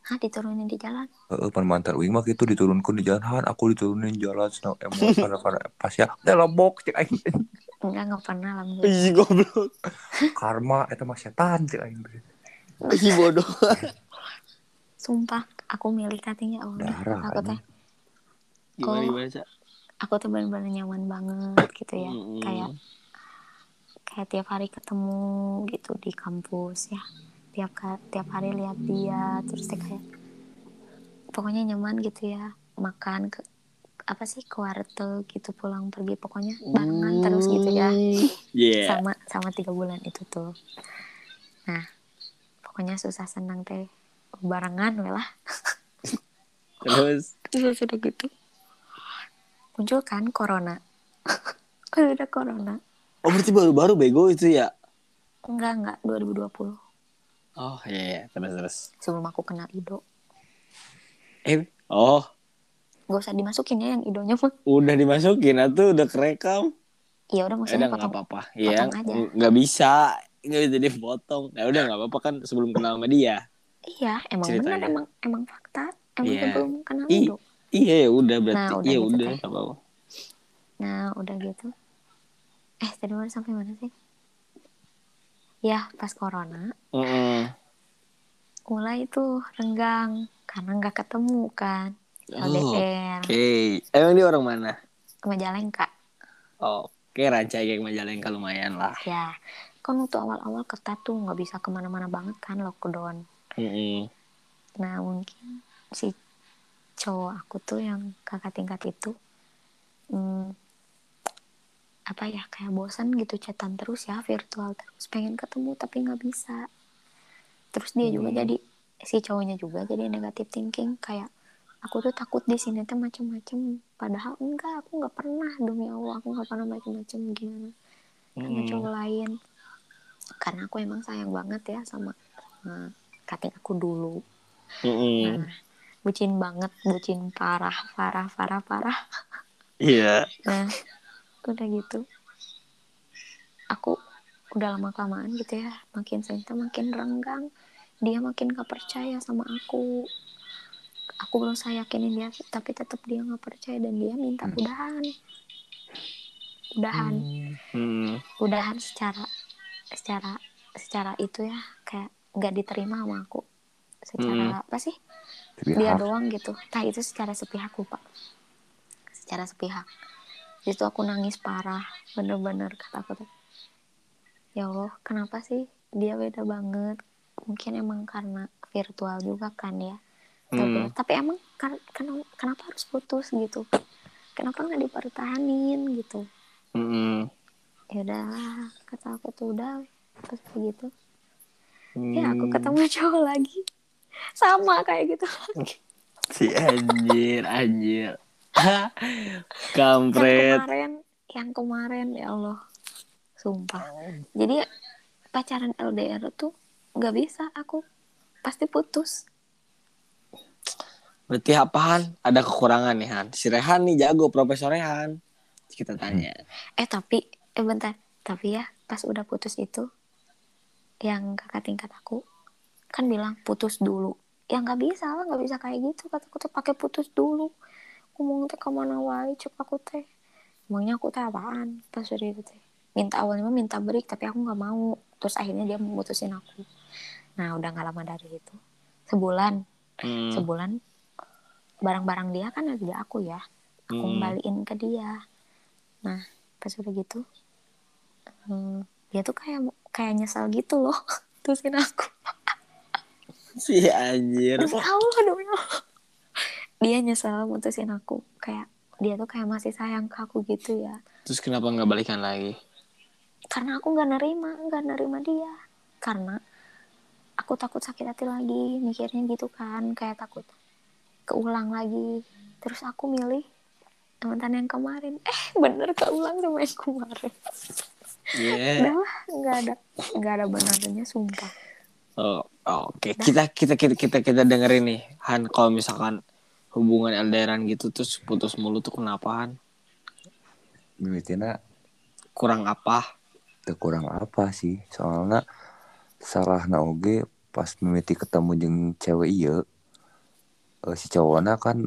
Speaker 3: Hah, Ah, diturunin di jalan.
Speaker 1: Heeh, pan mantan uing mah gitu diturunkan di jalan Han, aku diturunin jalan senang emosi karena karena pas ya "Dah, lebok cek aing
Speaker 3: Enggak, nggak pernah
Speaker 1: Iya.
Speaker 3: alhamdulillah.
Speaker 2: Ih goblok.
Speaker 1: karma itu mah setan cek aing
Speaker 2: Ih bodoh.
Speaker 3: Sumpah, aku milih katanya Allah.
Speaker 1: Darah,
Speaker 3: Aku teh
Speaker 2: Gimana
Speaker 3: Oh.
Speaker 2: gimana Cak?
Speaker 3: aku tuh benar-benar nyaman banget gitu ya
Speaker 2: Mm-mm.
Speaker 3: kayak kayak tiap hari ketemu gitu di kampus ya tiap ka- tiap hari lihat dia terus dia kayak pokoknya nyaman gitu ya makan ke apa sih ke warteg gitu pulang pergi pokoknya barengan terus gitu ya
Speaker 2: Iya.
Speaker 3: sama sama tiga bulan itu tuh nah pokoknya susah senang teh barengan we lah
Speaker 2: Terus
Speaker 3: Terus sudah gitu muncul kan corona udah Kan corona
Speaker 2: oh berarti baru-baru bego itu ya.
Speaker 3: enggak enggak 2020
Speaker 2: Oh iya, iya. terus terus.
Speaker 3: sebelum aku kenal Ido
Speaker 2: Eh oh
Speaker 3: gak usah dimasukin ya yang Idonya mah
Speaker 2: udah dimasukin atau udah kerekam. Eh,
Speaker 3: ya udah
Speaker 2: udah
Speaker 3: maksudnya
Speaker 2: nggak
Speaker 3: potong
Speaker 2: apa-apa. Iya
Speaker 3: potong aja.
Speaker 2: nggak bisa nggak bisa dipotong. Ya udah nggak apa-apa kan sebelum kenal sama dia.
Speaker 3: iya emang
Speaker 2: Ceritanya.
Speaker 3: benar emang emang fakta emang
Speaker 2: Iya.
Speaker 3: sebelum kenal
Speaker 2: Ih.
Speaker 3: Ido
Speaker 2: Iya ya udah berarti
Speaker 3: Nah, udah
Speaker 2: iya
Speaker 3: gitu,
Speaker 2: udah
Speaker 3: Teh.
Speaker 2: nggak apa-apa.
Speaker 3: nah udah gitu eh tadi mana sampai mana sih ya pas corona
Speaker 2: Heeh.
Speaker 3: mulai tuh renggang karena nggak ketemu kan
Speaker 2: Oh,
Speaker 3: LDR
Speaker 2: Oke. Emang dia orang mana?
Speaker 3: Majalengka
Speaker 2: Oke, Ranca Geng Majalengka lumayan lah.
Speaker 3: ya kan waktu awal-awal ketat tuh nggak bisa kemana-mana banget kan lockdown
Speaker 2: Mm-mm.
Speaker 3: nah mungkin si cowok aku tuh yang kakak tingkat itu hmm, apa ya kayak bosan gitu chatan terus ya virtual terus pengen ketemu tapi nggak bisa terus dia
Speaker 2: Hmm.
Speaker 3: juga jadi si cowoknya juga jadi negatif thinking kayak aku tuh takut di sini tuh macem-macem padahal enggak aku nggak pernah demi allah aku nggak pernah macem-macem gimana sama
Speaker 2: Mm-mm.
Speaker 3: cowok lain karena aku emang sayang banget ya sama, sama kating aku dulu
Speaker 2: Mm-mm.
Speaker 3: nah, bucin banget bucin parah parah parah parah
Speaker 2: Iya.
Speaker 3: nah udah gitu aku udah lama kelamaan gitu ya makin cinta makin renggang dia makin gak percaya sama aku aku berusaha yakinin dia tapi tetap dia gak percaya dan dia minta
Speaker 1: Hmm.
Speaker 3: udahan udahan
Speaker 2: Mm.
Speaker 3: udahan secara secara secara itu ya kayak nggak diterima sama aku secara apa sih
Speaker 1: Tapi ah,
Speaker 3: dia
Speaker 1: hal-
Speaker 3: doang gitu nah itu secara sepihak lupa secara sepihak itu aku nangis parah bener-bener kata aku tuh ya allah kenapa sih dia beda banget mungkin emang karena virtual juga kan ya tapi,
Speaker 2: Mm.
Speaker 3: tapi emang kar- ken- kenapa harus putus gitu kenapa nggak dipertahanin gitu
Speaker 2: Mm-mm.
Speaker 3: ya udahlah kata aku tuh udah terus begitu
Speaker 2: Mm.
Speaker 3: ya aku ketemu cowok lagi sama kayak gitu
Speaker 2: si anjir anjir
Speaker 3: yang
Speaker 2: kampret
Speaker 3: kemarin yang kemarin ya Allah sumpah jadi pacaran LDR tuh nggak bisa aku pasti putus
Speaker 2: berarti apaan ada kekurangan nih Han si Rehan nih jago profesor Rehan kita tanya
Speaker 3: eh tapi eh bentar tapi ya pas udah putus itu yang kakak tingkat aku kan bilang putus dulu ya nggak bisa lah nggak bisa kayak gitu kata aku tuh pakai putus dulu ngomong teh kemana wae cuk aku teh emangnya aku teh apaan pas udah itu teh minta awalnya mah minta break tapi aku nggak mau terus akhirnya dia memutusin aku nah udah nggak lama dari itu sebulan
Speaker 2: Hmm.
Speaker 3: sebulan barang-barang dia kan ada di aku ya aku
Speaker 2: Hmm.
Speaker 3: kembaliin ke dia nah pas udah gitu hmm, dia tuh kayak kayak nyesal gitu loh terusin aku
Speaker 2: si anjir
Speaker 3: demi Allah demi Allah ya. dia nyesal mutusin aku kayak dia tuh kayak masih sayang ke aku gitu ya
Speaker 2: terus kenapa nggak balikan lagi
Speaker 3: karena aku nggak nerima nggak nerima dia karena aku takut sakit hati lagi mikirnya gitu kan kayak takut keulang lagi terus aku milih mantan yang kemarin eh bener keulang sama yang kemarin
Speaker 2: Iya.
Speaker 3: udah lah nggak ada nggak ada benarnya sumpah
Speaker 2: Oh, oh, oke kita kita kita kita kita dengerin nih Han kalau misalkan hubungan LDRan gitu terus putus mulu tuh kenapa Han
Speaker 1: mimitina
Speaker 2: kurang apa
Speaker 1: teu kurang apa sih soalnya salah na oge pas mimiti ketemu jeung cewek iya eh, si cowokna kan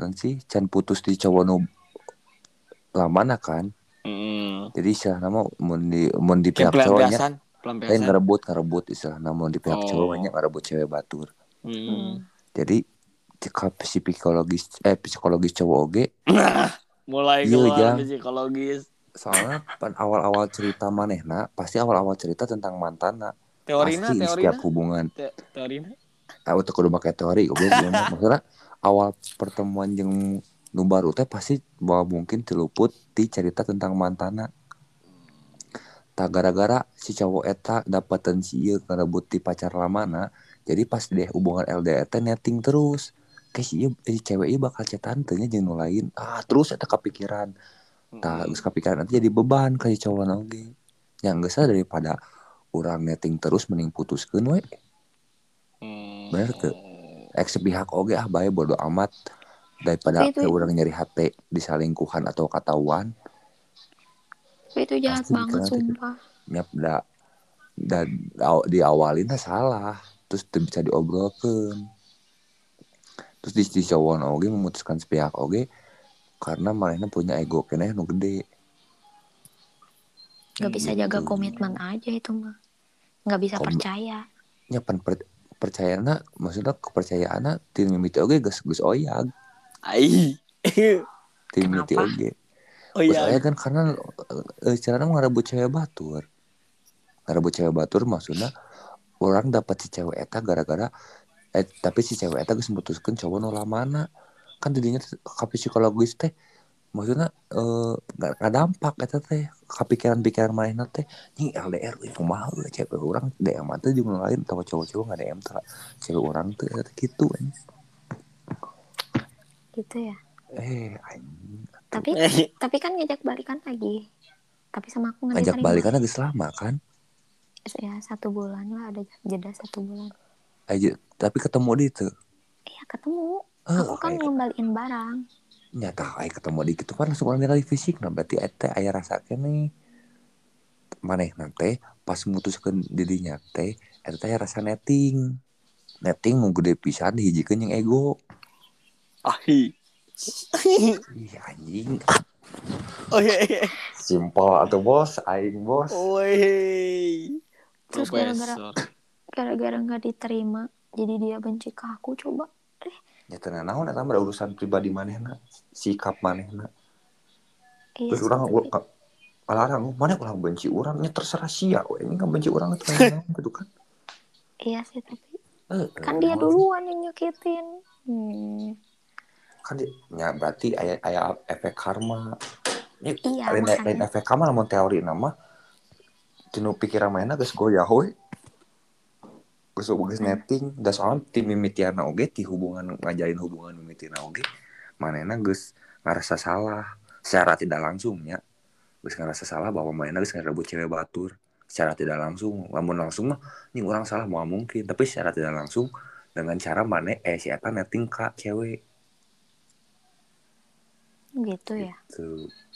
Speaker 1: kan sih can putus di cowok nu lamana kan
Speaker 2: Hmm.
Speaker 1: jadi istilahnya mah mun di mun di
Speaker 2: Kayak
Speaker 1: pihak cowoknya
Speaker 2: pelampiasan
Speaker 1: lain
Speaker 2: pelampiasan
Speaker 1: ngerebut ngerebut istilahnya mun di pihak
Speaker 2: Oh.
Speaker 1: cowoknya ngerebut cewek batur
Speaker 2: Hmm.
Speaker 1: jadi sikap si psikologis eh psikologis cowok oge
Speaker 2: mulai
Speaker 1: Iya,
Speaker 2: keluar
Speaker 1: Jang.
Speaker 2: psikologis
Speaker 1: soalnya pan awal-awal cerita manehna pasti awal-awal cerita tentang mantana
Speaker 2: teorina
Speaker 1: pasti di
Speaker 2: teorina
Speaker 1: setiap hubungan
Speaker 2: Te- teorina
Speaker 1: aku tuh kudu pakai teori gue bilang maksudnya awal pertemuan jeung nu baru teh pasti bahwa mungkin tiluput di cerita tentang mantana tak gara-gara si cowok eta dapetan si ieu ngerebut ti pacar lamana jadi pas deh hubungan LDR teh netting terus kayak si ieu- eh, si cewek ieu bakal cetan teh nya jeung nu lain ah terus eta kepikiran tak geus kepikiran nanti jadi beban ke si cowok oge yang geus lah daripada orang netting terus mending putuskeun we
Speaker 2: Hmm.
Speaker 1: Bener tuh. eks pihak oge ah bae bodo amat daripada
Speaker 3: Tapi
Speaker 1: ke
Speaker 3: itu-
Speaker 1: orang nyeri hati disalingkuhan atau ketahuan
Speaker 3: Tapi itu jahat
Speaker 1: Pasti
Speaker 3: banget
Speaker 1: dikeratin.
Speaker 3: sumpah
Speaker 1: nyap da, da, da- diawalin teh salah terus teu bisa diobrolkan terus di, di cowok oge memutuskan sepihak oge karena mereka punya ego kena nu gede
Speaker 3: nggak bisa jaga
Speaker 1: Gitu.
Speaker 3: komitmen aja itu mah nggak bisa
Speaker 1: Kom-
Speaker 3: percaya
Speaker 1: nyapan per, percayana maksudnya kepercayaannya tim mimiti oge geus geus oyag
Speaker 2: Ai.
Speaker 1: tim mimiti
Speaker 3: Kenapa?
Speaker 1: oge
Speaker 2: oh
Speaker 1: Terus
Speaker 2: iya.
Speaker 1: aya kan karena eh, caranya ngerebut cewek batur. Ngerebut cewek batur maksudnya orang dapat si cewek eta gara-gara eh tapi si cewek eta geus mutuskeun cowok nu lamana. Kan jadinya ka psikologis teh maksudnya eh gak, dampak eta teh ka pikiran-pikiran manehna teh nying LDR ieu kumaha euy, cewek orang DM teh jeung nu lain tawa cowok-cowok nggak DM teh cewek orang teh eta teh gitu anjing.
Speaker 3: gitu ya
Speaker 1: Eh anjing.
Speaker 3: Gitu tapi
Speaker 2: Eh,
Speaker 1: Eh.
Speaker 3: tapi kan ngajak balikan lagi tapi sama aku nggak
Speaker 1: Ngajak
Speaker 3: diterima.
Speaker 1: balik kan lagi selama kan.
Speaker 3: ya satu bulan lah ada jeda satu bulan
Speaker 1: Aja tapi ketemu dia tuh.
Speaker 3: iya ketemu
Speaker 1: Eh,
Speaker 3: aku kan
Speaker 1: ai-
Speaker 3: ngembaliin barang
Speaker 1: nyata ai ketemu di gitu kan langsung orang kali fisik nah berarti ete aya rasakeun nih. Maneh nanti pas mutuskeun dirinya teh eta teh aya rasa netting. Netting mau gede pisan dihijikeun yang ego.
Speaker 2: Ahi.
Speaker 1: Ih anjing,
Speaker 2: Oh, Oke.
Speaker 1: simpel atau bos, aing bos.
Speaker 3: Oh.
Speaker 2: Woi.
Speaker 3: Terus
Speaker 2: Profesor.
Speaker 3: gara-gara nggak diterima jadi dia benci ke aku coba
Speaker 1: Ya tenang naon eta mah ada urusan pribadi manehna, sikap manehna.
Speaker 3: iya
Speaker 1: Terus
Speaker 3: sih,
Speaker 1: orang
Speaker 3: tapi-
Speaker 1: orang "Oh, mana orang benci orangnya terserah sia, we. ini kan benci orang itu kan gitu kan.
Speaker 3: iya sih tapi
Speaker 1: Eh,
Speaker 3: kan
Speaker 1: eh,
Speaker 3: dia
Speaker 1: naon.
Speaker 3: duluan yang nyakitin hmm.
Speaker 1: Kan dia, ya berarti aya aya efek karma. Ini
Speaker 3: Iya,
Speaker 1: lain
Speaker 3: makanya.
Speaker 1: lain efek karma namun teori nama tinu pikiran mana geus goyah we. Geus geus netting, da soalnya ti mimitiana oge ti hubungan ngajalin hubungan mimitina oge manehna geus ngarasa salah secara tidak langsungnya. Geus ngarasa salah bahwa manehna geus ngarebut cewek batur secara tidak langsung. Lamun langsung mah ini orang salah mau mungkin, tapi secara tidak langsung dengan cara maneh eh si eta netting ka cewek
Speaker 3: gitu ya
Speaker 1: tuh